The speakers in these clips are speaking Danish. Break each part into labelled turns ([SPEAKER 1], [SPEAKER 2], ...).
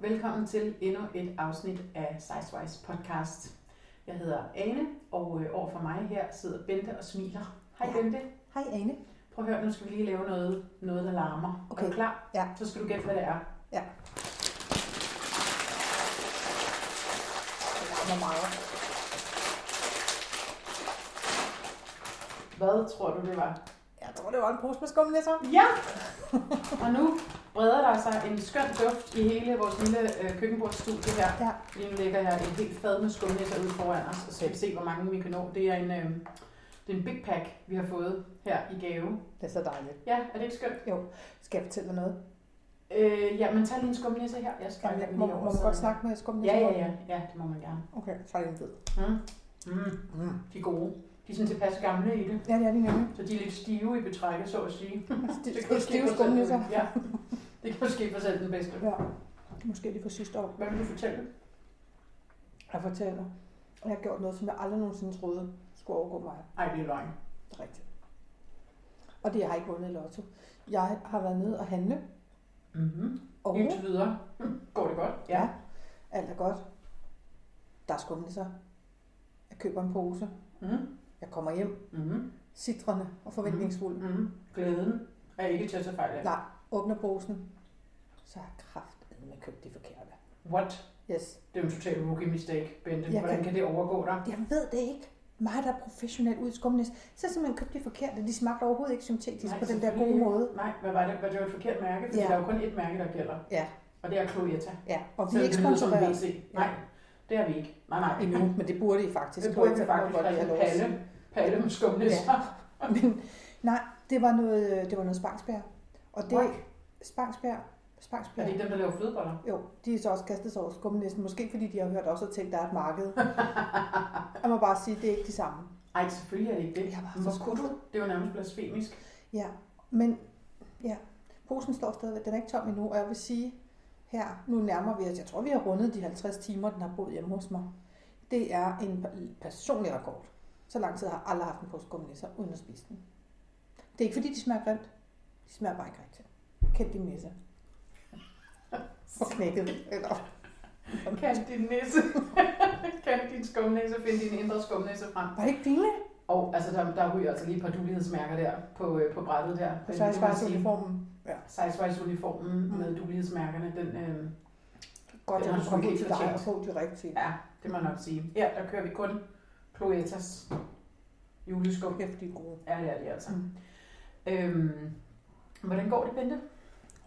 [SPEAKER 1] Velkommen til endnu et afsnit af Sizewise podcast. Jeg hedder Ane, og øh, overfor mig her sidder Bente og smiler. Hej
[SPEAKER 2] Ja.
[SPEAKER 1] Bente.
[SPEAKER 2] Hej Ane.
[SPEAKER 1] Prøv at høre, nu skal vi lige lave noget, noget der larmer. Er
[SPEAKER 2] Okay.
[SPEAKER 1] du klar?
[SPEAKER 2] Ja.
[SPEAKER 1] Så skal du gætte, hvad det er.
[SPEAKER 2] Ja. Det larmer meget.
[SPEAKER 1] Hvad tror du, det var?
[SPEAKER 2] Jeg tror, det var en pose med skumlæsser.
[SPEAKER 1] Ja! og nu breder der sig en skøn duft i hele vores lille øh, køkkenbordstudie her.
[SPEAKER 2] Ja.
[SPEAKER 1] Lige nu ligger jeg et helt fad med skumnisser ude foran os, og så skal vi se, hvor mange vi kan nå. Det er en, øh, det er en big pack, vi har fået her i gave.
[SPEAKER 2] Det er så dejligt.
[SPEAKER 1] Ja, er det ikke skønt?
[SPEAKER 2] Skal jeg fortælle dig noget?
[SPEAKER 1] Øh, ja, men tag lige en skumnisse her. Jeg skal
[SPEAKER 2] Jamen, må, må man godt snakke med skumlæsser?
[SPEAKER 1] Ja, ja, ja. Ja, det må man gerne.
[SPEAKER 2] Okay, jeg tager lige en bid.
[SPEAKER 1] Mm. Mm.
[SPEAKER 2] Mm.
[SPEAKER 1] De er gode. De er sådan tilpas gamle i det,
[SPEAKER 2] Ja, det er de nemlig. Altså,
[SPEAKER 1] så de er lidt stive i betrækket, så at sige.
[SPEAKER 2] Det
[SPEAKER 1] Det
[SPEAKER 2] er stive skumlæsser.
[SPEAKER 1] Ja, det kan måske få selv den bedste.
[SPEAKER 2] Ja. Måske lige for sidste år.
[SPEAKER 1] Hvad vil du fortælle?
[SPEAKER 2] Jeg fortæller, at jeg har gjort noget, som jeg aldrig nogensinde troede skulle overgå mig.
[SPEAKER 1] Ej, det er løgn.
[SPEAKER 2] Det er rigtigt. Og det jeg har ikke vundet i lotto. Jeg har været nede og handle.
[SPEAKER 1] Mm-hmm.
[SPEAKER 2] Og
[SPEAKER 1] Indtil videre. Hm. Går det godt?
[SPEAKER 2] Ja. alt er godt. Der er skumlæsser. Jeg køber en pose.
[SPEAKER 1] Mm.
[SPEAKER 2] Jeg kommer hjem.
[SPEAKER 1] Mm-hmm.
[SPEAKER 2] citrende og forventningsfulde.
[SPEAKER 1] Mm. Glæden er ikke til at tage fejl af.
[SPEAKER 2] Nej, åbner posen, så har kraften med købt de forkerte.
[SPEAKER 1] What?
[SPEAKER 2] Yes.
[SPEAKER 1] Det er jo en total rookie mistake, Bente.
[SPEAKER 2] Jeg
[SPEAKER 1] Hvordan
[SPEAKER 2] kan-
[SPEAKER 1] kan det overgå dig?
[SPEAKER 2] Jeg ved det ikke. Mig, der er professionel ud i skumnæs, så har simpelthen købt de forkerte. De smagte overhovedet ikke syntetisk
[SPEAKER 1] Nej,
[SPEAKER 2] på den der
[SPEAKER 1] selvfølgelig
[SPEAKER 2] gode måde.
[SPEAKER 1] Nej, hvad var det? Var det jo et forkert mærke? Fordi ja.
[SPEAKER 2] Ja.
[SPEAKER 1] der er jo kun ét mærke, der gælder.
[SPEAKER 2] Ja.
[SPEAKER 1] Og det er Cloetta.
[SPEAKER 2] Ja, og vi
[SPEAKER 1] Selvom
[SPEAKER 2] er ikke
[SPEAKER 1] det lyder som en
[SPEAKER 2] sponsoreret
[SPEAKER 1] WC. Nej, det er vi ikke. Nej, nej.
[SPEAKER 2] endnu, men det burde I faktisk.
[SPEAKER 1] Det burde vi
[SPEAKER 2] Hvorfor må
[SPEAKER 1] faktisk
[SPEAKER 2] godt
[SPEAKER 1] rigtig
[SPEAKER 2] lov at sige?
[SPEAKER 1] palle. Palle med skumnisser.
[SPEAKER 2] Men nej, det var noget, det var noget Spangsbjerg. Og det
[SPEAKER 1] What?
[SPEAKER 2] Spangsbjerg,
[SPEAKER 1] Er det
[SPEAKER 2] Spangsbjerg.
[SPEAKER 1] ikke dem, der laver flødeboller?
[SPEAKER 2] Jo, de er så også kastet sig over skumnæsen, måske fordi de har hørt også og tænkt, der er et marked. Jeg må bare sige, det er ikke det samme.
[SPEAKER 1] Ej, selvfølgelig er det ikke det.
[SPEAKER 2] Jeg var
[SPEAKER 1] Men
[SPEAKER 2] så
[SPEAKER 1] Hvor kunne du? Det er jo nærmest blasfemisk.
[SPEAKER 2] Ja, men ja, posen står stadigvæk, den er ikke tom endnu, og jeg vil sige her, nu nærmer vi os, jeg tror vi har rundet de 50 timer, den har boet hjemme hos mig. Det er en per- personlig rekord. Så lang tid har jeg aldrig haft en pose gumminisser uden at spise den. Det er ikke fordi, de smager grimt. De smager bare ikke rigtigt. Kæft din nisse. Og knækket. Eller,
[SPEAKER 1] Kald din nisse. Kald din skumnisse. Find din indre skumnisse frem.
[SPEAKER 2] var det ikke pinligt?
[SPEAKER 1] Og altså, der, der ryger altså lige et par dulighedsmærker der på, øh, på brættet der.
[SPEAKER 2] Og
[SPEAKER 1] Øh,
[SPEAKER 2] så er
[SPEAKER 1] det må jeg
[SPEAKER 2] jeg
[SPEAKER 1] sige.
[SPEAKER 2] uniformen. Ja.
[SPEAKER 1] Sizewise-uniformen
[SPEAKER 2] Mm.
[SPEAKER 1] med dulighedsmærkerne, den, øh,
[SPEAKER 2] Godt,
[SPEAKER 1] Den
[SPEAKER 2] jeg
[SPEAKER 1] har
[SPEAKER 2] kunne komme
[SPEAKER 1] du
[SPEAKER 2] ud til
[SPEAKER 1] ikke
[SPEAKER 2] dig og
[SPEAKER 1] fortjent.
[SPEAKER 2] få de rigtige.
[SPEAKER 1] Ja, det må jeg nok sige. Her, der kører vi kun Cloetas juleskum.
[SPEAKER 2] Kæft, de er gode.
[SPEAKER 1] Ja, det er det altså.
[SPEAKER 2] Mm.
[SPEAKER 1] Øhm, hvordan går det, Bente?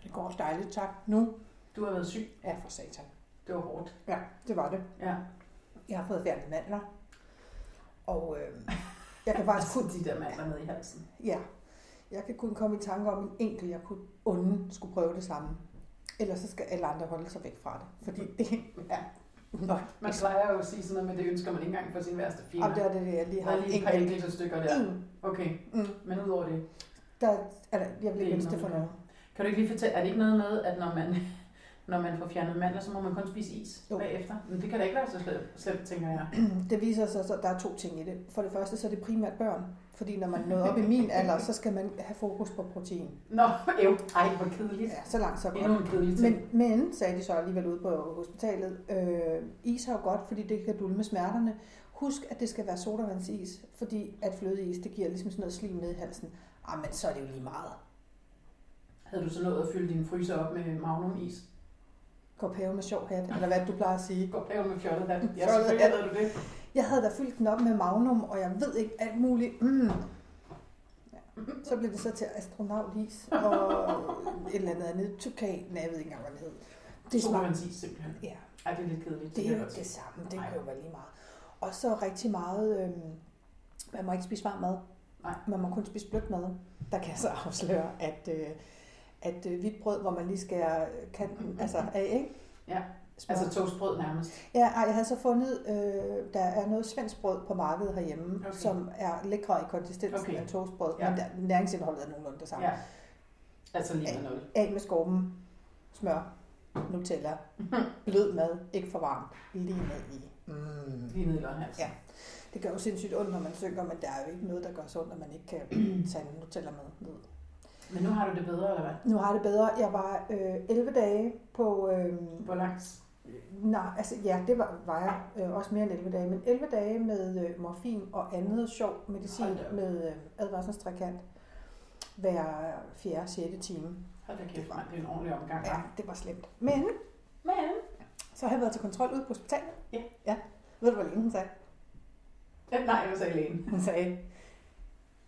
[SPEAKER 2] Det går dejligt, tak. Nu
[SPEAKER 1] Du har været syg.
[SPEAKER 2] er for satan.
[SPEAKER 1] Det var hårdt.
[SPEAKER 2] Ja, det var det.
[SPEAKER 1] Ja.
[SPEAKER 2] Jeg har fået fjernet mandler. Og øh, jeg kan faktisk kun,
[SPEAKER 1] de der mandler nede i halsen.
[SPEAKER 2] ja, jeg kan kun komme i tanke om en enkelt, jeg kunne unde skulle prøve det samme. Ellers så skal alle andre holde sig væk fra det. Fordi det er... Nå,
[SPEAKER 1] Man plejer jo at sige sådan noget, men det ønsker man ikke engang for sin værste fjende.
[SPEAKER 2] og det er det, jeg lige
[SPEAKER 1] der
[SPEAKER 2] har.
[SPEAKER 1] er lige et par enkelte stykker der.
[SPEAKER 2] en,
[SPEAKER 1] Okay,
[SPEAKER 2] mm,
[SPEAKER 1] men udover det.
[SPEAKER 2] der, altså, jeg vil
[SPEAKER 1] Det er
[SPEAKER 2] ikke ønske det
[SPEAKER 1] ikke
[SPEAKER 2] for
[SPEAKER 1] noget.
[SPEAKER 2] nogen.
[SPEAKER 1] Kan du ikke lige fortælle, er det ikke noget med, at når man, når man får fjernet mandler, så må man kun spise is
[SPEAKER 2] Jo.
[SPEAKER 1] bagefter? Men det kan da ikke være så slemt, slemt tænker jeg.
[SPEAKER 2] Mm, Det viser sig, så, at der er to ting i det. For det første, så er det primært børn. Fordi når man nåede op i min alder, så skal man have fokus på protein.
[SPEAKER 1] Nå, ev. Ej, hvor kedeligt.
[SPEAKER 2] Ja, så langt, så godt.
[SPEAKER 1] Endnu en kedelig ting.
[SPEAKER 2] Men, men, sagde de så alligevel ude på hospitalet, øh, is er jo godt, fordi det kan dulme smerterne. Husk, at det skal være sodavandsis, fordi at flødeis, det giver ligesom sådan noget slim ned i halsen. Ah, men så er det jo lige meget.
[SPEAKER 1] Havde du så nået at fylde din fryser op med magnumis?
[SPEAKER 2] Gå pæve med sjov hat, eller hvad du plejer at sige.
[SPEAKER 1] Det går pæve med fjollet hat. Ja,
[SPEAKER 2] Fjollet
[SPEAKER 1] selvfølgelig
[SPEAKER 2] hat.
[SPEAKER 1] havde du det.
[SPEAKER 2] Jeg havde da fyldt den op med magnum, og jeg ved ikke alt muligt. Mm. Ja. Så blev det så til astronautis og et eller andet andet. Tukan, nej, jeg ved ikke engang, hvad det hed. Det
[SPEAKER 1] Det var
[SPEAKER 2] smagte,
[SPEAKER 1] man sige simpelthen.
[SPEAKER 2] ja,
[SPEAKER 1] Ej, det er lidt kedeligt.
[SPEAKER 2] Det er jo
[SPEAKER 1] godt.
[SPEAKER 2] det samme, det
[SPEAKER 1] Nej.
[SPEAKER 2] kan jo være lige meget. Og så rigtig meget, øh, man må ikke spise varm mad.
[SPEAKER 1] Nej.
[SPEAKER 2] Man må kun spise blødt mad. Der kan jeg så afsløre, at, øh, at øh, hvidt brød, hvor man lige skærer kanten altså af, ikke?
[SPEAKER 1] Ja.
[SPEAKER 2] Smør.
[SPEAKER 1] Altså
[SPEAKER 2] Altså,
[SPEAKER 1] toastbrød nærmest.
[SPEAKER 2] ja, ej, jeg havde så fundet, øh, der er noget svensk brød på markedet herhjemme,
[SPEAKER 1] Okay.
[SPEAKER 2] okay. som er lækre i konsistensen
[SPEAKER 1] Okay.
[SPEAKER 2] okay. end toastbrød,
[SPEAKER 1] Ja.
[SPEAKER 2] ja. men der, næringsindholdet er nogenlunde det samme.
[SPEAKER 1] Ja.
[SPEAKER 2] Ja.
[SPEAKER 1] Altså lige med noget.
[SPEAKER 2] Af med skorpen, smør, Nutella, blød mad, ikke for varmt, lige ned i. Mm.
[SPEAKER 1] Lige ned i løgnhalsen.
[SPEAKER 2] Ja. Det gør jo sindssygt ondt, når man synker, men der er jo ikke noget, der gør så ondt, at man ikke kan tage en Nutella med ned.
[SPEAKER 1] Men nu har du det bedre, eller hvad?
[SPEAKER 2] Nu har jeg det bedre. Jeg var øh, 11 dage på... Øh,
[SPEAKER 1] Hvor langt?
[SPEAKER 2] nej, altså ja, det var, var jeg øh, også mere end 11 dage, men 11 dage med øh, morfin og andet sjov medicin
[SPEAKER 1] Hold da op.
[SPEAKER 2] med øh, advarselstrækant hver 4. 6. time.
[SPEAKER 1] Hold da kæft, mand. Det er en ordentlig omgang.
[SPEAKER 2] Ja, det var slemt. Men
[SPEAKER 1] Mhm. Men,
[SPEAKER 2] så har jeg været til kontrol ude på hospitalet.
[SPEAKER 1] Ja.
[SPEAKER 2] ja. Ved du, hvor længe hun sagde?
[SPEAKER 1] den nej, jeg var så alene.
[SPEAKER 2] Hun sagde,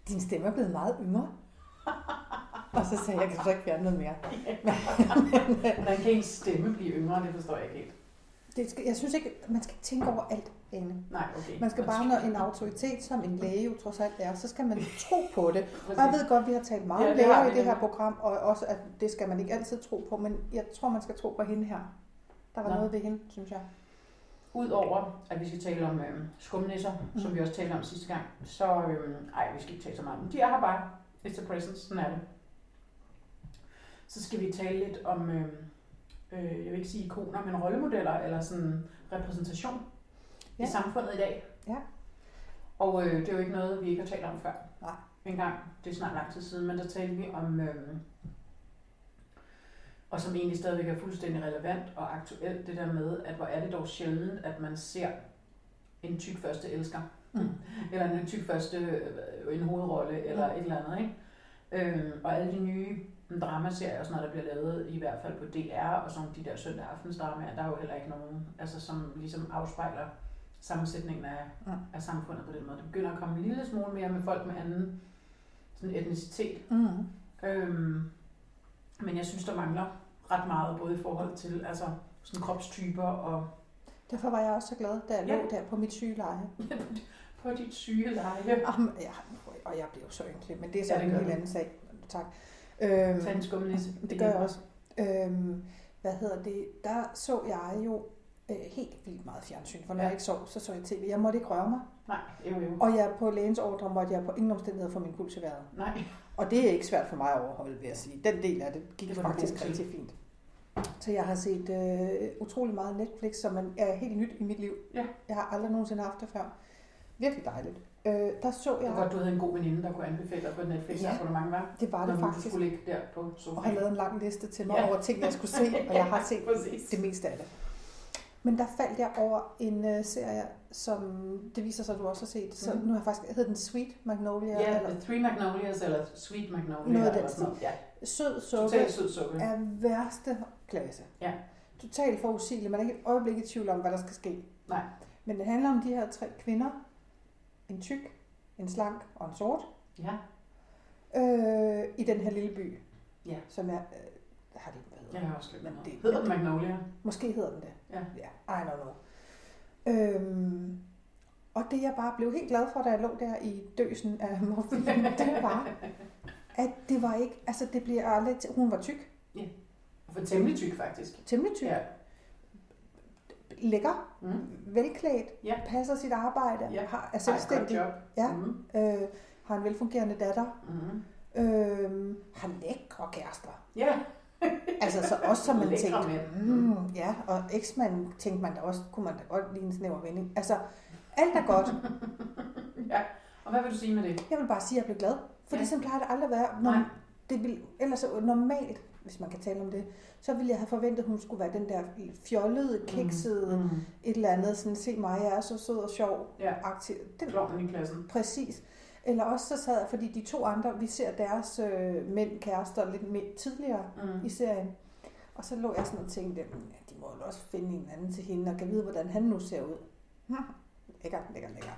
[SPEAKER 2] din stemme er blevet meget yngre. og så sagde jeg, kan du så ikke fjerne noget mere?
[SPEAKER 1] Hvordan kan ens stemme blive yngre? Det forstår jeg ikke helt.
[SPEAKER 2] Det skal, jeg synes ikke, man skal ikke tænke over alt, Ane.
[SPEAKER 1] Nej, okay.
[SPEAKER 2] Man skal bare, når en autoritet som en læge jo trods alt er, så skal man tro på det.
[SPEAKER 1] Præcis.
[SPEAKER 2] Og jeg ved godt, at vi har talt meget
[SPEAKER 1] Ja,
[SPEAKER 2] om
[SPEAKER 1] det har
[SPEAKER 2] læger
[SPEAKER 1] vi
[SPEAKER 2] i det her
[SPEAKER 1] nemlig.
[SPEAKER 2] program, og også, at det skal man ikke altid tro på, men jeg tror, man skal tro på hende her. Der var
[SPEAKER 1] Nå.
[SPEAKER 2] noget ved hende, synes jeg.
[SPEAKER 1] Udover at vi skal tale om øh, skumnisser, mm. som vi også talte om sidste gang, så øh, ej, vi skal ikke tale så meget om dem. De er her bare. It's a present, sådan er det. Så skal vi tale lidt om, øh, øh, jeg vil ikke sige ikoner, men rollemodeller, eller sådan repræsentation ja.
[SPEAKER 2] Ja.
[SPEAKER 1] i samfundet i dag.
[SPEAKER 2] Ja.
[SPEAKER 1] Og øh, det er jo ikke noget, vi ikke har talt om før.
[SPEAKER 2] Nej.
[SPEAKER 1] En gang, det er snart lang tid siden, men der talte vi om, øh, og som egentlig stadigvæk er fuldstændig relevant og aktuelt, det der med, at hvor er det dog sjældent, at man ser en tyk første elsker,
[SPEAKER 2] Mm.
[SPEAKER 1] eller en tyk første øh, en hovedrolle, eller
[SPEAKER 2] Ja.
[SPEAKER 1] et eller andet, ikke? Øhm, og alle de nye dramaserier og sådan noget, der bliver lavet, i hvert fald på DR, og sådan de der søndag aftensdramaer, der er jo heller ikke nogen, altså, som ligesom afspejler sammensætningen af,
[SPEAKER 2] Ja.
[SPEAKER 1] af samfundet på den måde. Det begynder at komme en lille smule mere med folk med anden sådan etnicitet,
[SPEAKER 2] Mm.
[SPEAKER 1] Øhm, men jeg synes, der mangler ret meget, både i forhold til altså, sådan kropstyper og
[SPEAKER 2] Derfor var jeg også så glad, da jeg
[SPEAKER 1] Ja.
[SPEAKER 2] lå der på mit sygeleje.
[SPEAKER 1] på dit syge leje.
[SPEAKER 2] Jamen, ja, og jeg blev så ynkelig, men det er så
[SPEAKER 1] Ja,
[SPEAKER 2] ja,
[SPEAKER 1] det
[SPEAKER 2] en
[SPEAKER 1] gør
[SPEAKER 2] helt
[SPEAKER 1] du.
[SPEAKER 2] anden sag. Tak. Øhm,
[SPEAKER 1] Tag en skumnisse.
[SPEAKER 2] det gør jeg også. Øhm, hvad hedder det? Der så jeg jo øh, helt vildt meget fjernsyn, for når
[SPEAKER 1] Ja.
[SPEAKER 2] ja. jeg ikke sov, så så jeg tv. Jeg måtte ikke røre mig.
[SPEAKER 1] Nej, jo jo.
[SPEAKER 2] Og jeg på lægens ordre måtte jeg på ingen omstændighed få min puls i vejret.
[SPEAKER 1] Nej,
[SPEAKER 2] Og det er ikke svært for mig at overholde, vil jeg sige. Den del af det gik
[SPEAKER 1] Det
[SPEAKER 2] det
[SPEAKER 1] var du god
[SPEAKER 2] faktisk
[SPEAKER 1] til.
[SPEAKER 2] rigtig fint. Så jeg har set øh, utrolig meget Netflix, som man er helt nyt i mit liv.
[SPEAKER 1] Ja.
[SPEAKER 2] Jeg har aldrig nogensinde haft det før. Virkelig dejligt. Øh, der så
[SPEAKER 1] det
[SPEAKER 2] jeg...
[SPEAKER 1] var godt, du havde en god veninde, der kunne anbefale dig på Netflix
[SPEAKER 2] Ja.
[SPEAKER 1] ja. abonnement, var.
[SPEAKER 2] Det var det
[SPEAKER 1] Du
[SPEAKER 2] faktisk.
[SPEAKER 1] skulle ligge der på sofaen.
[SPEAKER 2] Og han lavede en lang liste til mig
[SPEAKER 1] Ja.
[SPEAKER 2] ja. over ting, jeg skulle se, og jeg har set
[SPEAKER 1] Præcis.
[SPEAKER 2] det meste af det. Men der faldt jeg over en øh, serie, som det viser sig, at du også har set. Så
[SPEAKER 1] Mhm.
[SPEAKER 2] nu har jeg faktisk hedder den Sweet Magnolia.
[SPEAKER 1] Ja,
[SPEAKER 2] Eller,
[SPEAKER 1] The Three Magnolias, eller Sweet Magnolia,
[SPEAKER 2] Noget af
[SPEAKER 1] eller
[SPEAKER 2] den
[SPEAKER 1] sådan noget. Ja,
[SPEAKER 2] sød suppe
[SPEAKER 1] totalt sød suppe.
[SPEAKER 2] er værste klasse.
[SPEAKER 1] Ja.
[SPEAKER 2] Totalt forudsigelig. Man er ikke et øjeblik i tvivl om, hvad der skal ske.
[SPEAKER 1] Nej.
[SPEAKER 2] Men det handler om de her tre kvinder. En tyk, en slank og en sort.
[SPEAKER 1] Ja,
[SPEAKER 2] Øh, I den her lille by.
[SPEAKER 1] Ja.
[SPEAKER 2] Som jeg... Øh, har det ikke været?
[SPEAKER 1] jeg har også glemt
[SPEAKER 2] Men
[SPEAKER 1] noget.
[SPEAKER 2] det-
[SPEAKER 1] Hedder den Magnolia?
[SPEAKER 2] Måske hedder den det.
[SPEAKER 1] Ja.
[SPEAKER 2] ja I don't know. Øhm, og det jeg bare blev helt glad for, da jeg lå der i døsen af morfin, det var, at det var ikke, altså det bliver aldrig, til- hun var tyk,
[SPEAKER 1] For temmelig tyk, faktisk.
[SPEAKER 2] temmelig tyk,
[SPEAKER 1] Ja.
[SPEAKER 2] lækker,
[SPEAKER 1] Mm.
[SPEAKER 2] velklædt,
[SPEAKER 1] Ja.
[SPEAKER 2] passer sit arbejde,
[SPEAKER 1] Ja.
[SPEAKER 2] har, er
[SPEAKER 1] Ej, godt
[SPEAKER 2] selvstændig,
[SPEAKER 1] job.
[SPEAKER 2] Ja.
[SPEAKER 1] Mm.
[SPEAKER 2] øh, har en velfungerende datter,
[SPEAKER 1] Mm.
[SPEAKER 2] øh, har lækre kærester.
[SPEAKER 1] Ja,
[SPEAKER 2] Altså så også som man
[SPEAKER 1] Lækre
[SPEAKER 2] tænkte,
[SPEAKER 1] mænd.
[SPEAKER 2] mm, ja, og eksmanden tænkte man da også, kunne man da godt lide en snæver vending. Altså alt er godt,
[SPEAKER 1] ja. Og hvad vil du sige med det?
[SPEAKER 2] Jeg vil bare sige, at jeg blev glad. For
[SPEAKER 1] Ja.
[SPEAKER 2] ja. sådan plejer det aldrig at være. Når,
[SPEAKER 1] Nej.
[SPEAKER 2] det ville, ellers så normalt, hvis man kan tale om det, så ville jeg have forventet, at hun skulle være den der fjollede, kiksede, mm.
[SPEAKER 1] Mm.
[SPEAKER 2] et eller andet, sådan, se mig, jeg er så sød og sjov.
[SPEAKER 1] Ja.
[SPEAKER 2] Aktiv. Det var
[SPEAKER 1] Kloven i klassen.
[SPEAKER 2] præcis. Eller også så sad jeg, fordi de to andre, vi ser deres øh, mænd, kærester lidt mere tidligere
[SPEAKER 1] Mm.
[SPEAKER 2] i serien. Og så lå jeg sådan og tænkte, "Mm, ja, de må jo også finde en anden til hende, og kan vide, hvordan han nu ser ud. Hm. Lækker, lækker, lækker.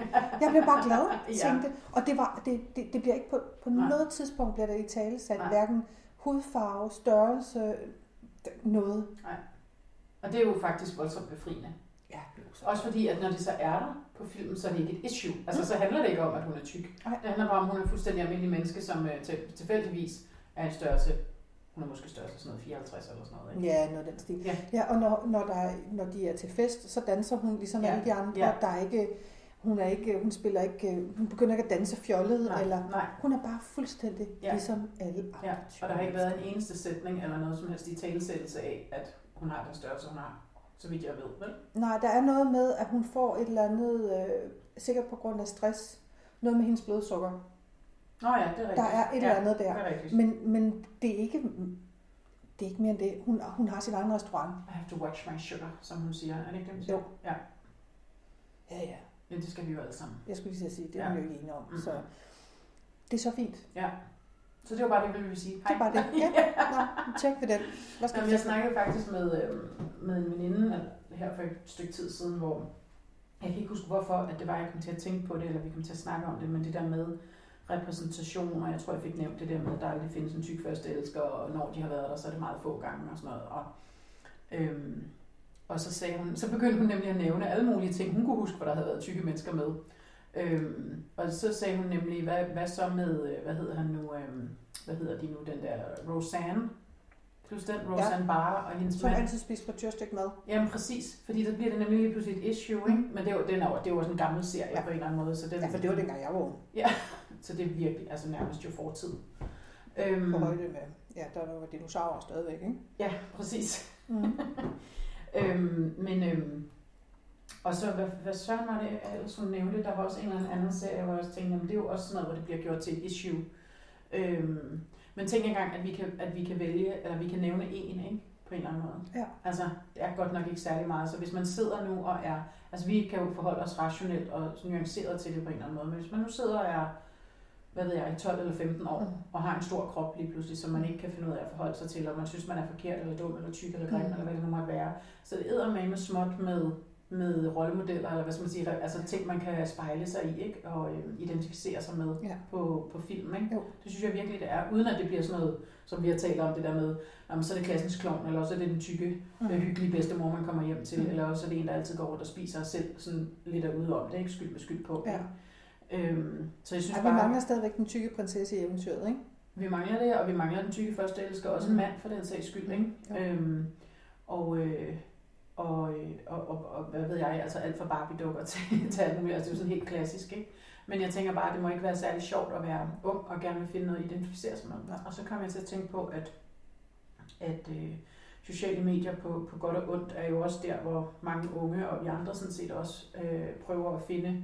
[SPEAKER 2] Jeg blev bare glad,
[SPEAKER 1] Ja.
[SPEAKER 2] tænkte. Og det, var, det, det, det bliver ikke på, på
[SPEAKER 1] Nej.
[SPEAKER 2] noget tidspunkt bliver der i tale sat,
[SPEAKER 1] Nej.
[SPEAKER 2] hverken hudfarve, størrelse, d- noget.
[SPEAKER 1] Og det er jo faktisk voldsomt befriende.
[SPEAKER 2] Ja,
[SPEAKER 1] Også fordi, at når det så er der på filmen, så er det ikke et issue.
[SPEAKER 2] Mm.
[SPEAKER 1] Altså, så handler det ikke om, at hun er tyk.
[SPEAKER 2] Nej.
[SPEAKER 1] Det handler bare om, at hun er fuldstændig almindelig menneske, som øh, til- tilfældigvis er en størrelse. Hun er måske størrelse sådan noget 54 eller sådan noget. Ikke?
[SPEAKER 2] Ja, noget af den stil.
[SPEAKER 1] Ja.
[SPEAKER 2] ja og når, når, der, er- når de er til fest, så danser hun ligesom
[SPEAKER 1] Ja.
[SPEAKER 2] ja. alle de andre.
[SPEAKER 1] Ja.
[SPEAKER 2] Ja. Der er ikke, hun, er ikke, hun spiller ikke, hun begynder ikke at danse fjollet,
[SPEAKER 1] Nej,
[SPEAKER 2] eller
[SPEAKER 1] nej.
[SPEAKER 2] hun er bare fuldstændig
[SPEAKER 1] Ja.
[SPEAKER 2] ja. ligesom alle andre.
[SPEAKER 1] Ja. Og der har ikke været en eneste sætning eller noget som helst i talesættelse af, at hun har den størrelse, hun har. Så vidt jeg ved, vel?
[SPEAKER 2] Nej, der er noget med, at hun får et eller andet, øh, sikkert på grund af stress, noget med hendes blodsukker.
[SPEAKER 1] Nå ja, det er rigtigt.
[SPEAKER 2] Der er et eller andet
[SPEAKER 1] ja,
[SPEAKER 2] der.
[SPEAKER 1] Det er rigtigt.
[SPEAKER 2] Men, men det, er ikke, det er ikke mere end det. Hun, hun har sin egen restaurant.
[SPEAKER 1] I have to watch my sugar, som hun siger. Er det ikke det, hun siger?
[SPEAKER 2] Jo.
[SPEAKER 1] Ja.
[SPEAKER 2] Ja, ja.
[SPEAKER 1] Ja, det skal vi jo alle sammen.
[SPEAKER 2] Jeg skulle lige til at sige, det er hun
[SPEAKER 1] Ja.
[SPEAKER 2] jo ikke enig om.
[SPEAKER 1] Mm.
[SPEAKER 2] Så det er så fint.
[SPEAKER 1] Så det var bare det, vi ville sige. Hej.
[SPEAKER 2] Det er bare det. Ja. Nå, tjek ved den. Hvad skal
[SPEAKER 1] Jamen,
[SPEAKER 2] vi
[SPEAKER 1] jeg
[SPEAKER 2] tage?
[SPEAKER 1] snakkede faktisk med, øh, med en veninde at- her for et stykke tid siden, hvor jeg kan ikke huske hvorfor, at det var, jeg kom til at tænke på det, eller vi kom til at snakke om det, men det der med repræsentation, og jeg tror, jeg fik nævnt det der med, at der aldrig findes en tyk første elsker, og når de har været der, så er det meget få gange og sådan noget. Og, øhm, og så, sagde hun, så begyndte hun nemlig at nævne alle mulige ting, hun kunne huske, hvor der havde været tykke mennesker med. Øhm, og så sagde hun nemlig, hvad, hvad så med, øh, hvad hedder han nu, øhm, hvad hedder de nu, den der Roseanne? Kan du huske den? Roseanne ja. Barr og hendes
[SPEAKER 2] Så har
[SPEAKER 1] mand.
[SPEAKER 2] jeg altid spist på tyrstykke mad.
[SPEAKER 1] Jamen præcis, fordi så bliver det nemlig lige pludselig et issue, ikke? Men det er jo, den er, jo- det er jo også en gammel serie ja.
[SPEAKER 2] Mm. Ja.
[SPEAKER 1] på en eller anden måde, så, den,
[SPEAKER 2] Ja, for det var dengang jeg var ung.
[SPEAKER 1] så det er virkelig altså nærmest jo fortid.
[SPEAKER 2] På
[SPEAKER 1] Øhm,
[SPEAKER 2] højde med, ja, der var dinosaurer stadigvæk, ikke?
[SPEAKER 1] ja, præcis.
[SPEAKER 2] Mm.
[SPEAKER 1] Øhm, men, øhm, og så, hvad, hvad søren var det, ellers hun nævnte, der var også en eller anden serie, hvor jeg også tænkte, jamen, det er jo også sådan noget, hvor det bliver gjort til et issue. Øhm, men tænk engang, at vi, kan, at vi kan vælge, eller vi kan nævne en, ikke? På en eller anden måde.
[SPEAKER 2] Ja.
[SPEAKER 1] Altså, det er godt nok ikke særlig meget. Så hvis man sidder nu og er... Altså, vi kan jo forholde os rationelt og nuanceret til det på en eller anden måde. Men hvis man nu sidder og er, hvad ved jeg, 12 eller 15 år,
[SPEAKER 2] Mm.
[SPEAKER 1] og har en stor krop lige pludselig, som man ikke kan finde ud af at forholde sig til, og man synes, man er forkert, eller dum, eller tyk, eller grim,
[SPEAKER 2] Mm.
[SPEAKER 1] mm. eller hvad det nu måtte være. Så det æder med med småt med, med rollemodeller, eller hvad skal man sige, re- altså ting, man kan spejle sig i, ikke? og øh, identificere sig med
[SPEAKER 2] Ja.
[SPEAKER 1] på, på film. Ikke?
[SPEAKER 2] Jo.
[SPEAKER 1] Det synes jeg virkelig, det er, uden at det bliver sådan noget, som vi har talt om, det der med, jamen, så er det klassens klovn, eller også er det den tykke, mm.
[SPEAKER 2] Mm.
[SPEAKER 1] hyggelige bedstemor, man kommer hjem til,
[SPEAKER 2] Mm.
[SPEAKER 1] mm. eller også er det en, der altid går rundt og spiser og selv sådan lidt er ude om det, ikke skyld med skyld på.
[SPEAKER 2] Ja.
[SPEAKER 1] ikke? Øhm, så jeg synes
[SPEAKER 2] Ej, vi
[SPEAKER 1] bare,
[SPEAKER 2] mangler stadigvæk den tykke prinsesse i eventyret, ikke?
[SPEAKER 1] vi mangler det, og vi mangler den tykke første elsker, også en
[SPEAKER 2] Mm.
[SPEAKER 1] mand for den sags skyld, ikke?
[SPEAKER 2] Jo.
[SPEAKER 1] Øhm, og, øh, og, øh, og, og, og, hvad ved jeg, altså alt fra Barbie-dukker til, til alt muligt, altså det er jo sådan helt klassisk, ikke? Men jeg tænker bare, at det må ikke være særlig sjovt at være ung og gerne vil finde noget at identificere sig med. Og så kom jeg til at tænke på, at, at øh, sociale medier på, på godt og ondt er jo også der, hvor mange unge og vi andre sådan set også øh, prøver at finde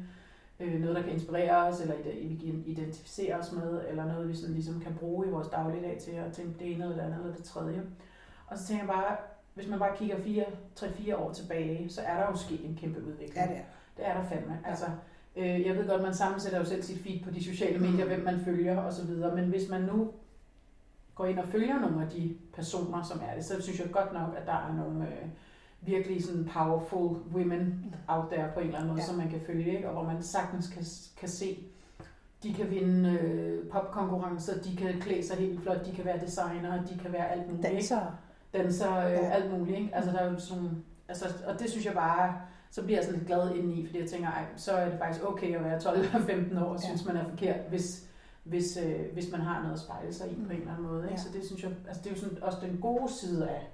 [SPEAKER 1] øh, noget, der kan inspirere os, eller ide- vi kan identificere os med, eller noget, vi sådan ligesom kan bruge i vores dagligdag til at tænke det ene eller det andet eller det tredje. Og så tænker jeg bare, hvis man bare kigger 3-4 år tilbage, så er der jo sket en kæmpe udvikling.
[SPEAKER 2] Ja, det er.
[SPEAKER 1] Det er der fandme.
[SPEAKER 2] Ja.
[SPEAKER 1] Altså, øh, jeg ved godt, man sammensætter jo selv sit feed på de sociale
[SPEAKER 2] Mm.
[SPEAKER 1] medier, hvem man følger osv., men hvis man nu går ind og følger nogle af de personer, som er det, så synes jeg godt nok, at der er nogle øh, virkelig sådan powerful women out there på en eller anden måde,
[SPEAKER 2] Ja.
[SPEAKER 1] ja. som man kan følge, ikke? og hvor man sagtens kan, kan se, de kan vinde øh, popkonkurrencer, de kan klæde sig helt vildt flot, de kan være designer, de kan være alt muligt. ikke?
[SPEAKER 2] Dansere.
[SPEAKER 1] danser, øh,
[SPEAKER 2] Ja.
[SPEAKER 1] ja. alt muligt. Ikke? Altså, der er jo sådan, altså, og det synes jeg bare, så bliver jeg sådan lidt glad indeni, fordi jeg tænker, ej, så er det faktisk okay at være 12 eller 15 år og
[SPEAKER 2] Ja.
[SPEAKER 1] synes, man er forkert, hvis, hvis, øh, hvis man har noget at spejle sig i
[SPEAKER 2] Mm.
[SPEAKER 1] på en eller anden måde. Ikke?
[SPEAKER 2] Ja.
[SPEAKER 1] Så det synes jeg, altså, det er jo sådan, også den gode side af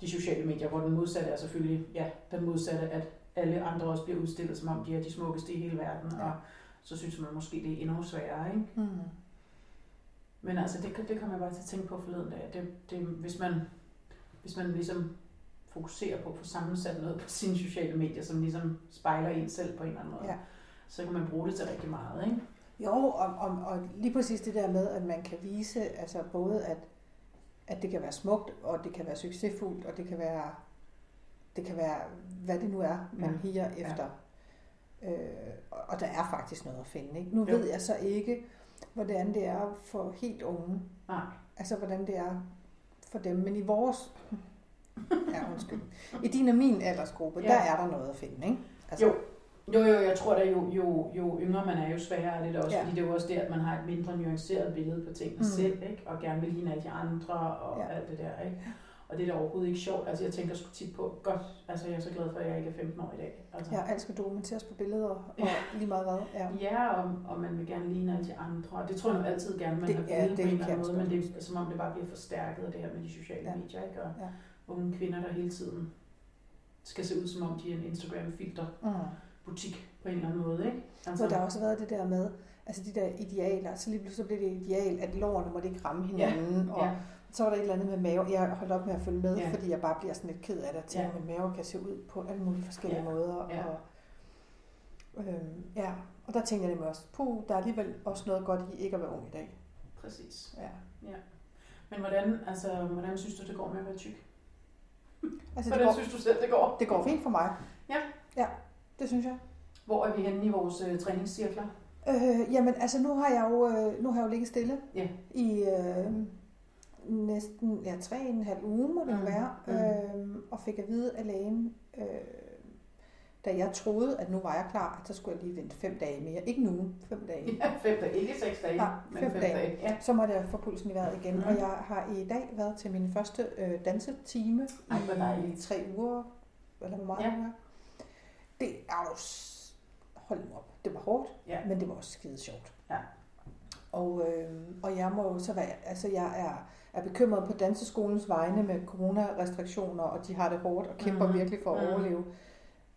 [SPEAKER 1] de sociale medier, hvor den modsatte er selvfølgelig, ja, den modsatte, at alle andre også bliver udstillet, som om de er de smukkeste i hele verden,
[SPEAKER 2] Ja.
[SPEAKER 1] ja. og så synes man måske, det er endnu sværere, ikke?
[SPEAKER 2] Mm.
[SPEAKER 1] Men altså, det, det kom jeg bare til at tænke på forleden dag. Det, det, hvis, man, hvis man ligesom fokuserer på at få sammensat noget på sine sociale medier, som ligesom spejler en selv på en eller anden måde,
[SPEAKER 2] Ja.
[SPEAKER 1] så kan man bruge det til rigtig meget, ikke?
[SPEAKER 2] Jo, og, og, og lige præcis det der med, at man kan vise altså både, at, at det kan være smukt, og det kan være succesfuldt, og det kan være, det kan være hvad det nu er, man
[SPEAKER 1] Ja,
[SPEAKER 2] higer
[SPEAKER 1] ja.
[SPEAKER 2] efter. Øh, og og der er faktisk noget at finde. Ikke? Nu
[SPEAKER 1] Jo.
[SPEAKER 2] ved jeg så ikke, hvordan det er for helt unge.
[SPEAKER 1] Nej.
[SPEAKER 2] Altså, hvordan det er for dem. Men i vores... Ja, undskyld. I din og min aldersgruppe,
[SPEAKER 1] Ja.
[SPEAKER 2] der er der noget at finde, ikke? Altså,
[SPEAKER 1] Jo. Jo, jo, jeg tror da, jo, jo, jo yngre man er, jo sværere er det da også,
[SPEAKER 2] Ja.
[SPEAKER 1] ja. fordi det er jo også det, at man har et mindre nuanceret billede på tingene
[SPEAKER 2] Mm.
[SPEAKER 1] mm. selv, ikke? Og gerne vil ligne alle de andre og
[SPEAKER 2] Ja.
[SPEAKER 1] ja. alt det der, ikke? Og det er da overhovedet ikke sjovt. Altså, jeg tænker sgu tit på, godt, altså, jeg er så glad for, at jeg ikke er 15 år i dag. Altså,
[SPEAKER 2] Ja, alt skal dokumenteres på billeder, og lige meget hvad. Ja.
[SPEAKER 1] Ja, og, og man vil gerne ligne alle de andre. Og det tror jeg nu altid gerne, man
[SPEAKER 2] Det-
[SPEAKER 1] har
[SPEAKER 2] ja,
[SPEAKER 1] ville
[SPEAKER 2] det
[SPEAKER 1] på en
[SPEAKER 2] kan
[SPEAKER 1] eller
[SPEAKER 2] jeg
[SPEAKER 1] anden måde,
[SPEAKER 2] også
[SPEAKER 1] men
[SPEAKER 2] godt
[SPEAKER 1] det er som om det bare bliver forstærket af det her med de sociale
[SPEAKER 2] Ja.
[SPEAKER 1] ja. medier, ikke? Og
[SPEAKER 2] Ja.
[SPEAKER 1] unge kvinder, der hele tiden skal se ud som om, de er en Instagram-filterbutik
[SPEAKER 2] Mm.
[SPEAKER 1] på en eller anden måde, ikke? Altså,
[SPEAKER 2] Så der har også været det der med, altså de der idealer, så lige pludselig blev det ideal, at lårene måtte ikke ramme hinanden, ja. og
[SPEAKER 1] ja,
[SPEAKER 2] så var der et eller andet med mave. Jeg holdt op med at følge med, ja.
[SPEAKER 1] Ja.
[SPEAKER 2] fordi jeg bare bliver sådan lidt ked af det, til
[SPEAKER 1] Ja.
[SPEAKER 2] ja. at mave kan se ud på alle mulige forskellige ja.
[SPEAKER 1] Ja.
[SPEAKER 2] måder.
[SPEAKER 1] Ja.
[SPEAKER 2] Og, øhm, ja, Og der tænker jeg nemlig også, puh, der er alligevel også noget godt i ikke at være ung i dag.
[SPEAKER 1] Præcis.
[SPEAKER 2] Ja.
[SPEAKER 1] Men hvordan, altså, hvordan synes du, det går med at være tyk?
[SPEAKER 2] Altså, det
[SPEAKER 1] Hvordan
[SPEAKER 2] går,
[SPEAKER 1] synes du selv, det går?
[SPEAKER 2] det går fint for mig.
[SPEAKER 1] Ja.
[SPEAKER 2] Ja, det synes jeg.
[SPEAKER 1] Hvor er vi henne i vores øh, træningscirkler?
[SPEAKER 2] Øh, jamen, altså nu har jeg jo, øh, nu har jeg jo ligget stille
[SPEAKER 1] Ja.
[SPEAKER 2] i øh, næsten ja, tre og en halv uge, må det
[SPEAKER 1] Mm,
[SPEAKER 2] mm. være,
[SPEAKER 1] mm.
[SPEAKER 2] øh, og fik at vide af lægen, øh, da jeg troede, at nu var jeg klar, at så skulle jeg lige vente fem dage mere. Ikke nu, fem dage.
[SPEAKER 1] Ja, fem dage. Ikke seks dage,
[SPEAKER 2] Nej,
[SPEAKER 1] men
[SPEAKER 2] fem
[SPEAKER 1] fem dage.
[SPEAKER 2] dage.
[SPEAKER 1] Ja.
[SPEAKER 2] Så måtte jeg få pulsen i vejret igen,
[SPEAKER 1] Mm.
[SPEAKER 2] mm. og jeg har i dag været til min første øh, dansetime
[SPEAKER 1] Ej, hvor
[SPEAKER 2] i
[SPEAKER 1] dejligt.
[SPEAKER 2] tre uger, eller hvor meget
[SPEAKER 1] Ja.
[SPEAKER 2] ja. det er. Det er jo... s- Hold nu op. Det var hårdt,
[SPEAKER 1] Ja.
[SPEAKER 2] men det var også skide sjovt.
[SPEAKER 1] Ja.
[SPEAKER 2] Og, øh, og jeg må jo så være... Altså, jeg er, er bekymret på danseskolens vegne med coronarestriktioner, og de har det hårdt og kæmper
[SPEAKER 1] Mhm.
[SPEAKER 2] mm. virkelig for at
[SPEAKER 1] Mhm.
[SPEAKER 2] mm. overleve.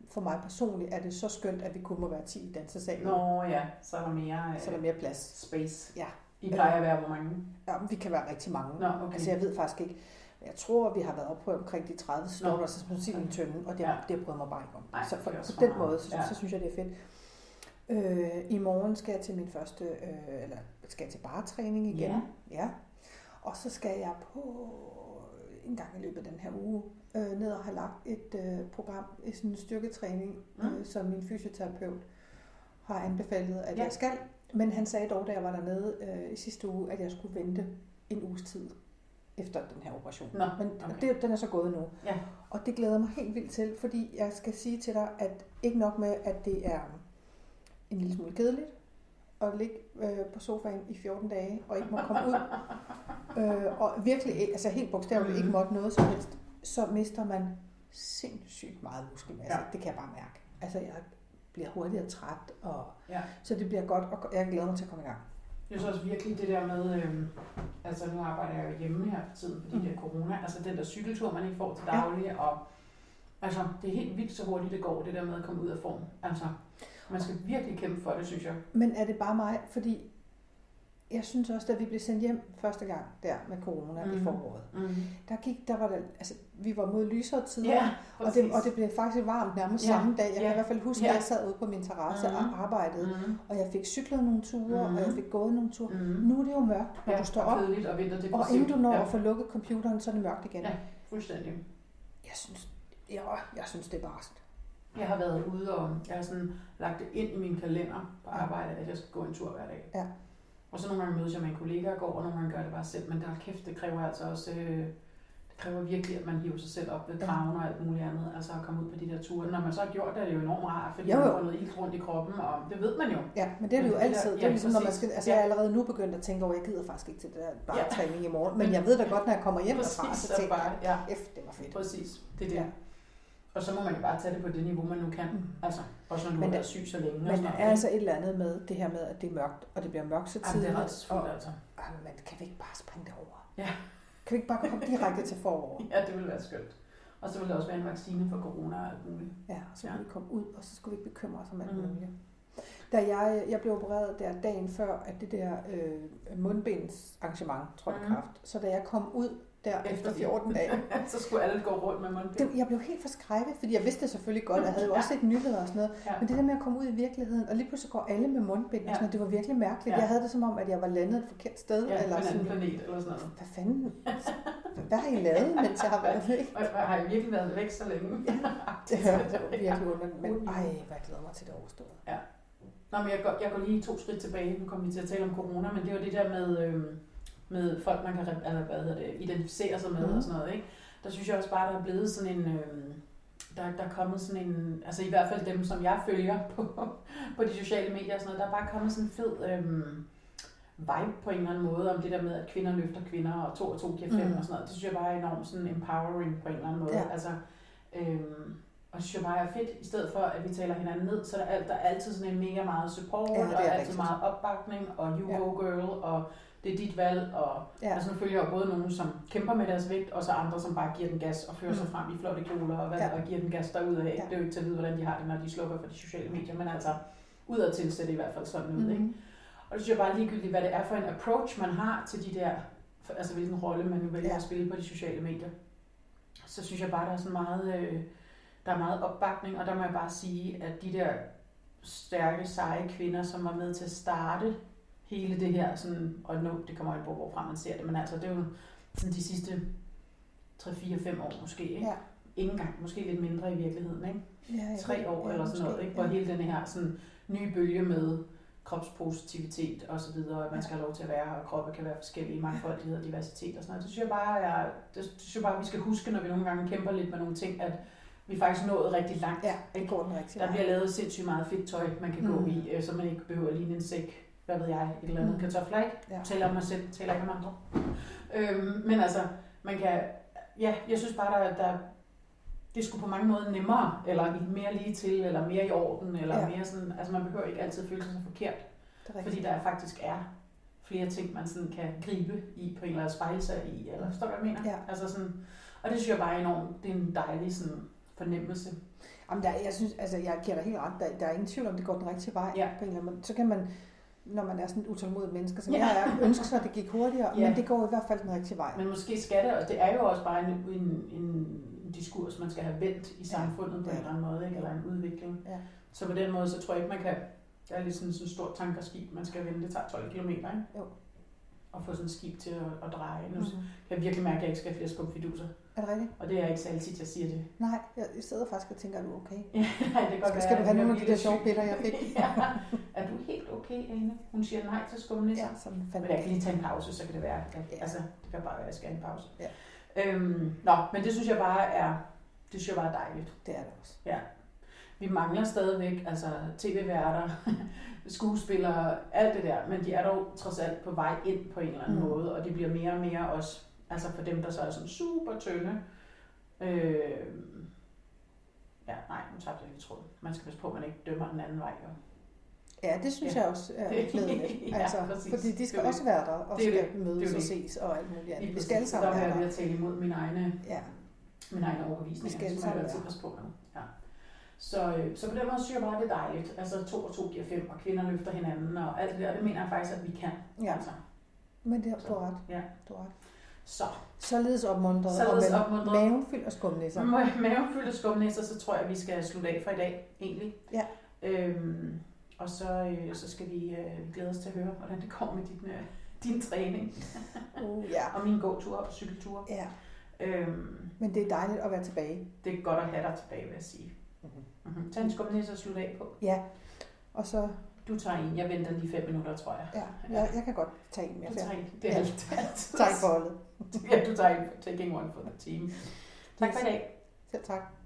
[SPEAKER 2] For mig personligt er det så skønt, at vi kun må være 10 i dansesalen,
[SPEAKER 1] Nå ja, så er der mere øh,
[SPEAKER 2] så er der mere plads.
[SPEAKER 1] space.
[SPEAKER 2] Ja.
[SPEAKER 1] I plejer at være hvor mange?
[SPEAKER 2] Ja, men vi kan være rigtig mange.
[SPEAKER 1] Nå, okay.
[SPEAKER 2] Altså, jeg ved faktisk ikke. Jeg tror, vi har været oppe på omkring de 30
[SPEAKER 1] Nå.
[SPEAKER 2] snotter, så som siger min tønde, og det,
[SPEAKER 1] Ja.
[SPEAKER 2] ja. det bryder mig bare ikke om.
[SPEAKER 1] Nej,
[SPEAKER 2] så
[SPEAKER 1] det
[SPEAKER 2] for,
[SPEAKER 1] er også
[SPEAKER 2] på
[SPEAKER 1] for
[SPEAKER 2] den
[SPEAKER 1] meget.
[SPEAKER 2] måde, så,
[SPEAKER 1] Ja.
[SPEAKER 2] ja. så synes jeg, det er fedt. Øh, I morgen skal jeg til min første, øh, eller skal jeg til bartræning igen.
[SPEAKER 1] Ja.
[SPEAKER 2] ja. Og så skal jeg på en gang i løbet af den her uge øh, ned og have lagt et øh, program, i sådan en styrketræning,
[SPEAKER 1] Mm.
[SPEAKER 2] øh, som min fysioterapeut har anbefalet, at
[SPEAKER 1] Ja.
[SPEAKER 2] ja. jeg skal. Men han sagde dog, da jeg var dernede øh, i sidste uge, at jeg skulle vente en uges tid efter den her operation.
[SPEAKER 1] Nå,
[SPEAKER 2] Men
[SPEAKER 1] okay.
[SPEAKER 2] det, den er så gået nu.
[SPEAKER 1] Ja.
[SPEAKER 2] Og det glæder jeg mig helt vildt til, fordi jeg skal sige til dig, at ikke nok med, at det er en lille smule kedeligt at ligge øh, på sofaen i 14 dage og ikke må komme ud, øh, og virkelig, ikke- altså helt bogstaveligt ikke måtte noget som helst, så mister man sindssygt meget muskelmasse.
[SPEAKER 1] Ja.
[SPEAKER 2] Ja. Det kan jeg bare mærke. Altså, jeg bliver hurtigere træt, og
[SPEAKER 1] Ja.
[SPEAKER 2] så det bliver godt, og jeg glæder mig til at komme i gang.
[SPEAKER 1] Jeg synes også virkelig det der med, øh, altså nu arbejder jeg jo hjemme her for tiden, fordi mm.
[SPEAKER 2] Mm.
[SPEAKER 1] det er corona, altså den der cykeltur, man ikke får til daglig, ja. og altså det er helt vildt så hurtigt det går, det der med at komme ud af form. Altså, man skal virkelig kæmpe for det, synes jeg.
[SPEAKER 2] Men er det bare mig? Fordi jeg synes også, da vi blev sendt hjem første gang der med corona mm.
[SPEAKER 1] Mhm.
[SPEAKER 2] i foråret,
[SPEAKER 1] Mm.
[SPEAKER 2] der gik, der var der, altså, vi var mod lysere tider,
[SPEAKER 1] Ja,
[SPEAKER 2] og, det, og det blev faktisk varmt nærmest
[SPEAKER 1] Ja,
[SPEAKER 2] ja. samme dag. Jeg kan
[SPEAKER 1] ja,
[SPEAKER 2] i hvert fald huske,
[SPEAKER 1] ja.
[SPEAKER 2] at jeg sad ude på min terrasse mm.
[SPEAKER 1] Mhm.
[SPEAKER 2] og arbejdede,
[SPEAKER 1] mm.
[SPEAKER 2] og jeg fik cyklet nogle ture, mm.
[SPEAKER 1] Mhm.
[SPEAKER 2] og jeg fik gået nogle ture.
[SPEAKER 1] Mm.
[SPEAKER 2] Mm. Nu er det jo mørkt,
[SPEAKER 1] Ja,
[SPEAKER 2] når ja, du står
[SPEAKER 1] og
[SPEAKER 2] op,
[SPEAKER 1] kedeligt og vinterdepressivt.
[SPEAKER 2] og inden du når
[SPEAKER 1] Ja,
[SPEAKER 2] at få lukket computeren, så er det mørkt igen.
[SPEAKER 1] Ja. fuldstændig.
[SPEAKER 2] Jeg synes, ja, jeg synes, det er barst.
[SPEAKER 1] Jeg har været ude, og jeg har sådan lagt det ind i min kalender på arbejde, at jeg skal gå en tur hver dag.
[SPEAKER 2] Ja.
[SPEAKER 1] Og så nogle gange mødes jeg med en kollega og går, og nogle gange gør jeg det bare selv. Men der er kæft, det kræver altså også... Øh, det kræver virkelig, at man hiver sig selv op ved
[SPEAKER 2] Ja.
[SPEAKER 1] kraven og alt muligt andet, altså at komme ud på de der ture. Når man så har gjort det, er det jo enormt rart, fordi
[SPEAKER 2] Jo,
[SPEAKER 1] man
[SPEAKER 2] jo.
[SPEAKER 1] får noget ilt rundt i kroppen, og det ved man jo.
[SPEAKER 2] Ja, men det er det jo
[SPEAKER 1] Men det der-
[SPEAKER 2] altid. Det
[SPEAKER 1] Mm. ja,
[SPEAKER 2] er ligesom, når man
[SPEAKER 1] præcis.
[SPEAKER 2] skal, altså
[SPEAKER 1] Ja.
[SPEAKER 2] jeg er allerede nu begyndt at tænke over, jeg gider faktisk ikke til det der bare
[SPEAKER 1] Ja. Mm.
[SPEAKER 2] ja. træning i morgen. Men jeg ved da godt, når jeg kommer hjem derfra,
[SPEAKER 1] Præcis,
[SPEAKER 2] så
[SPEAKER 1] så
[SPEAKER 2] tænker
[SPEAKER 1] bare,
[SPEAKER 2] jeg,
[SPEAKER 1] ja,
[SPEAKER 2] F, det var fedt.
[SPEAKER 1] præcis. Det er det.
[SPEAKER 2] Ja.
[SPEAKER 1] Og så må man jo bare tage det på det niveau, man nu kan.
[SPEAKER 2] Mm.
[SPEAKER 1] Altså, også når du
[SPEAKER 2] Men
[SPEAKER 1] har
[SPEAKER 2] der-
[SPEAKER 1] været syg så længe. og
[SPEAKER 2] Men
[SPEAKER 1] sådan
[SPEAKER 2] der
[SPEAKER 1] noget,
[SPEAKER 2] er
[SPEAKER 1] ikke?
[SPEAKER 2] altså et eller andet med det her med, at det er mørkt, og det bliver mørkt så
[SPEAKER 1] Ej, men
[SPEAKER 2] tidligt.
[SPEAKER 1] det er ret
[SPEAKER 2] og,
[SPEAKER 1] fuldt, altså.
[SPEAKER 2] ej, men kan vi ikke bare springe det over?
[SPEAKER 1] Ja.
[SPEAKER 2] Kan vi ikke bare komme direkte til forår?
[SPEAKER 1] Ja, det ville være skønt. Og så ville der også være en vaccine for corona og alt muligt.
[SPEAKER 2] Ja, så
[SPEAKER 1] Ja.
[SPEAKER 2] kunne vi komme ud, og så skulle vi ikke bekymre os om alt
[SPEAKER 1] Mm.
[SPEAKER 2] muligt. Da jeg, jeg blev opereret der dagen før, at det der øh, mundbindsarrangement trådte
[SPEAKER 1] Mhm.
[SPEAKER 2] mm. kraft, så da jeg kom ud der efter 14 dage,
[SPEAKER 1] så skulle alle gå rundt med mundbind.
[SPEAKER 2] Det, jeg blev helt forskrækket, fordi jeg vidste det selvfølgelig godt, jeg havde jo også set nyheder og sådan noget.
[SPEAKER 1] Ja.
[SPEAKER 2] Men det der med at komme ud i virkeligheden, og lige pludselig går alle med mundbind,
[SPEAKER 1] Ja.
[SPEAKER 2] ja. sådan, noget, det var virkelig mærkeligt.
[SPEAKER 1] Ja.
[SPEAKER 2] Ja. Jeg havde det som om, at jeg var landet et forkert sted.
[SPEAKER 1] Ja, på
[SPEAKER 2] eller
[SPEAKER 1] en anden
[SPEAKER 2] sådan,
[SPEAKER 1] planet eller sådan noget.
[SPEAKER 2] hvad fanden? Hvad har I lavet, mens jeg har været væk?
[SPEAKER 1] Og jeg har jeg virkelig været væk så længe?
[SPEAKER 2] Det, det var virkelig underligt, men
[SPEAKER 1] Uden.
[SPEAKER 2] ej, hvad jeg glæder mig til det overstået.
[SPEAKER 1] Nå, men jeg går, jeg går lige to skridt tilbage. Nu kommer vi til at tale om corona, men det var det der med, øh, med folk, man kan rep- eller, hvad hedder det, identificere sig med mm.
[SPEAKER 2] Mhm.
[SPEAKER 1] og sådan noget. Ikke? Der synes jeg også bare, der er blevet sådan en... Øh, der, der er kommet sådan en... Altså i hvert fald dem, som jeg følger på, på de sociale medier og sådan noget. Der er bare kommet sådan en fed... Øh, vibe på en eller anden måde om det der med, at kvinder løfter kvinder, og to og to giver fem mm.
[SPEAKER 2] Mm.
[SPEAKER 1] og sådan noget. Det synes jeg bare er enormt sådan empowering på en eller anden måde. Ja.
[SPEAKER 2] Ja.
[SPEAKER 1] Altså, øhm, og det synes jeg bare er fedt, i stedet for at vi taler hinanden ned, så er der, alt, der er altid sådan en mega meget support,
[SPEAKER 2] Ja,
[SPEAKER 1] ja,
[SPEAKER 2] det er
[SPEAKER 1] og altid
[SPEAKER 2] rigtigt.
[SPEAKER 1] meget opbakning, og you
[SPEAKER 2] Ja.
[SPEAKER 1] go girl, og det er dit valg, og ja.
[SPEAKER 2] Ja.
[SPEAKER 1] altså, nu følger jeg jo både nogen, som kæmper med deres vægt, og så andre, som bare giver den gas og fører mm. sig
[SPEAKER 2] Mm.
[SPEAKER 1] frem i flotte kjoler og, hvad, ja.
[SPEAKER 2] Ja.
[SPEAKER 1] og giver den gas derudad. Ja.
[SPEAKER 2] Ja.
[SPEAKER 1] Det er jo ikke til at vide, hvordan de har det, når de slukker for de sociale medier, men altså udadtil ser det i hvert fald sådan ud. Mm. Ikke?
[SPEAKER 2] Mm.
[SPEAKER 1] Og det synes jeg bare er ligegyldigt, hvad det er for en approach, man har til de der, for- altså hvilken rolle man nu vælger ja.
[SPEAKER 2] Ja.
[SPEAKER 1] at spille på de sociale medier. Så synes jeg bare, der er sådan meget, øh, der er meget opbakning, og der må jeg bare sige, at de der stærke, seje kvinder, som var med til at starte hele det her, sådan, og nu, det kommer jo på, hvorfra man ser det, men altså, det er jo sådan de sidste 3-4-5 år måske, ikke?
[SPEAKER 2] Ja.
[SPEAKER 1] Ikke engang, måske lidt mindre i virkeligheden, ikke?
[SPEAKER 2] Ja, ja,
[SPEAKER 1] Tre år eller sådan noget, ikke? Hvor hele den her sådan, nye bølge med kropspositivitet og så videre, at man skal have lov til at være her, og kroppe kan være forskellige, mangfoldighed og diversitet og sådan noget. Det synes jeg bare, er, det synes jeg bare, vi skal huske, når vi nogle gange kæmper lidt med nogle ting, at vi er faktisk nået rigtig langt.
[SPEAKER 2] Ja, det går den rigtige
[SPEAKER 1] Der
[SPEAKER 2] vej.
[SPEAKER 1] bliver lavet sindssygt meget fedt tøj, man kan mm. gå
[SPEAKER 2] Mm.
[SPEAKER 1] i, øh, så man ikke behøver at ligne en sæk, hvad ved jeg, et eller andet
[SPEAKER 2] Mm.
[SPEAKER 1] mm. kartofler, ikke?
[SPEAKER 2] Ja.
[SPEAKER 1] Ja. Taler om mig selv, taler ikke om andre. Øhm, men altså, man kan, ja, jeg synes bare, der, der det skulle på mange måder nemmere, eller mere lige til, eller mere i orden, eller
[SPEAKER 2] Ja.
[SPEAKER 1] ja. mere sådan, altså man behøver ikke altid føle sig så forkert,
[SPEAKER 2] Det er rigtigt.
[SPEAKER 1] fordi der faktisk er flere ting, man sådan kan gribe i på en eller anden spejle sig i, eller forstår du, hvad jeg mener?
[SPEAKER 2] Ja.
[SPEAKER 1] Altså sådan, og det synes jeg bare er enormt, det er en dejlig sådan fornemmelse.
[SPEAKER 2] Jamen, der, jeg, synes, altså, jeg giver dig helt ret. Der, der er ingen tvivl om, det går den rigtige vej
[SPEAKER 1] Ja.
[SPEAKER 2] på en eller anden måde. Så kan man, når man er sådan et utålmodigt menneske, som ja.
[SPEAKER 1] Ja.
[SPEAKER 2] jeg er, ønske sig, at det gik hurtigere.
[SPEAKER 1] Ja.
[SPEAKER 2] Men det går i hvert fald den rigtige vej.
[SPEAKER 1] Men måske skal det, og det er jo også bare en, en, en diskurs, man skal have vendt i samfundet på
[SPEAKER 2] Ja.
[SPEAKER 1] en eller anden måde, ikke? eller en udvikling.
[SPEAKER 2] Ja.
[SPEAKER 1] Så på den måde, så tror jeg ikke, man kan... Der er lidt sådan sådan et stort tankerskib, man skal vende. Det tager 12 km, ikke?
[SPEAKER 2] Jo.
[SPEAKER 1] Og få sådan et skib til at, at dreje. Nu
[SPEAKER 2] Mm.
[SPEAKER 1] kan jeg virkelig mærke, at jeg ikke skal have flere skumfiduser.
[SPEAKER 2] Er det rigtigt?
[SPEAKER 1] Og det er ikke så altid, jeg siger det.
[SPEAKER 2] Nej, jeg sidder faktisk og tænker, er du okay?
[SPEAKER 1] Ja, nej, det kan godt
[SPEAKER 2] Skal- skal
[SPEAKER 1] være,
[SPEAKER 2] du have
[SPEAKER 1] at jeg
[SPEAKER 2] nogle af de
[SPEAKER 1] bliver
[SPEAKER 2] der sjove
[SPEAKER 1] syg.
[SPEAKER 2] piller, jeg fik?
[SPEAKER 1] ja. Er du helt okay, Ane? Hun siger nej til skumnisser.
[SPEAKER 2] Ja, som
[SPEAKER 1] Men
[SPEAKER 2] fandt
[SPEAKER 1] jeg kan lige tage en pause, så kan det være. At,
[SPEAKER 2] Ja.
[SPEAKER 1] ja. Altså, det kan bare være, at jeg skal have en pause.
[SPEAKER 2] Ja.
[SPEAKER 1] Øhm, nå, men det synes jeg bare er, det synes jeg bare er dejligt.
[SPEAKER 2] Det er det også.
[SPEAKER 1] Vi mangler stadigvæk altså, tv-værter, skuespillere, alt det der, men de er dog trods alt på vej ind på en eller anden
[SPEAKER 2] Mm.
[SPEAKER 1] mm. måde, og det bliver mere og mere også, altså for dem, der så er sådan super tynde. Øh, ja, nej, nu tabte jeg lige tråden. Man skal passe på, at man ikke dømmer den anden vej. Jo.
[SPEAKER 2] Ja, det synes ja.
[SPEAKER 1] Ja.
[SPEAKER 2] jeg også er
[SPEAKER 1] Det-
[SPEAKER 2] glædeligt.
[SPEAKER 1] Ja,
[SPEAKER 2] Altså,
[SPEAKER 1] præcis.
[SPEAKER 2] fordi de
[SPEAKER 1] Det
[SPEAKER 2] skal
[SPEAKER 1] er jo
[SPEAKER 2] også være der, og
[SPEAKER 1] Det er jo
[SPEAKER 2] skal mødes
[SPEAKER 1] Det er
[SPEAKER 2] og
[SPEAKER 1] jo
[SPEAKER 2] ses og alt muligt andet.
[SPEAKER 1] Lige
[SPEAKER 2] Vi skal alle
[SPEAKER 1] præcis.
[SPEAKER 2] sammen
[SPEAKER 1] Så der
[SPEAKER 2] være
[SPEAKER 1] er jeg ved
[SPEAKER 2] der.
[SPEAKER 1] at tale imod mine egne
[SPEAKER 2] Ja,
[SPEAKER 1] mine egne overbevisninger.
[SPEAKER 2] Vi skal
[SPEAKER 1] så må altså, jeg
[SPEAKER 2] alle
[SPEAKER 1] altid
[SPEAKER 2] sammen
[SPEAKER 1] passe på med. Ja. Så, øh, så på den måde synes jeg bare, det er dejligt. Altså to og to giver fem, og kvinder løfter hinanden og alt det der. Det mener jeg faktisk, at vi kan.
[SPEAKER 2] ja.
[SPEAKER 1] Altså,
[SPEAKER 2] Men det, du har ret.
[SPEAKER 1] Ja.
[SPEAKER 2] Du har ret.
[SPEAKER 1] så
[SPEAKER 2] Således opmuntret.
[SPEAKER 1] Således
[SPEAKER 2] og med
[SPEAKER 1] opmuntret. Mm.
[SPEAKER 2] Maven fyldt og skumlæsser.
[SPEAKER 1] så må jeg maven fylde skumnæsser, så tror jeg, vi skal slutte af for i dag, egentlig.
[SPEAKER 2] Ja.
[SPEAKER 1] Øhm, og så, øh, så skal vi øh, glæde os til at høre, hvordan det går med din, øh, din træning
[SPEAKER 2] Uh, ja.
[SPEAKER 1] og min gåtur og cykeltur.
[SPEAKER 2] ja.
[SPEAKER 1] Øhm,
[SPEAKER 2] Men det er dejligt at være tilbage.
[SPEAKER 1] det er godt at have dig tilbage, vil jeg sige.
[SPEAKER 2] Mhm.
[SPEAKER 1] Mm-hmm. Mm-hmm. Tag en skumnæsser og slut af på.
[SPEAKER 2] Og så,
[SPEAKER 1] Du tager en. Jeg venter lige fem minutter, tror jeg.
[SPEAKER 2] ja, jeg, jeg kan godt tage en mere
[SPEAKER 1] Du
[SPEAKER 2] færdig.
[SPEAKER 1] tager en. Det er
[SPEAKER 2] Ja.
[SPEAKER 1] alt. alt.
[SPEAKER 2] Tak for holdet.
[SPEAKER 1] Ja, du tager en. Taking one for the team. Tak for i dag.
[SPEAKER 2] Selv tak.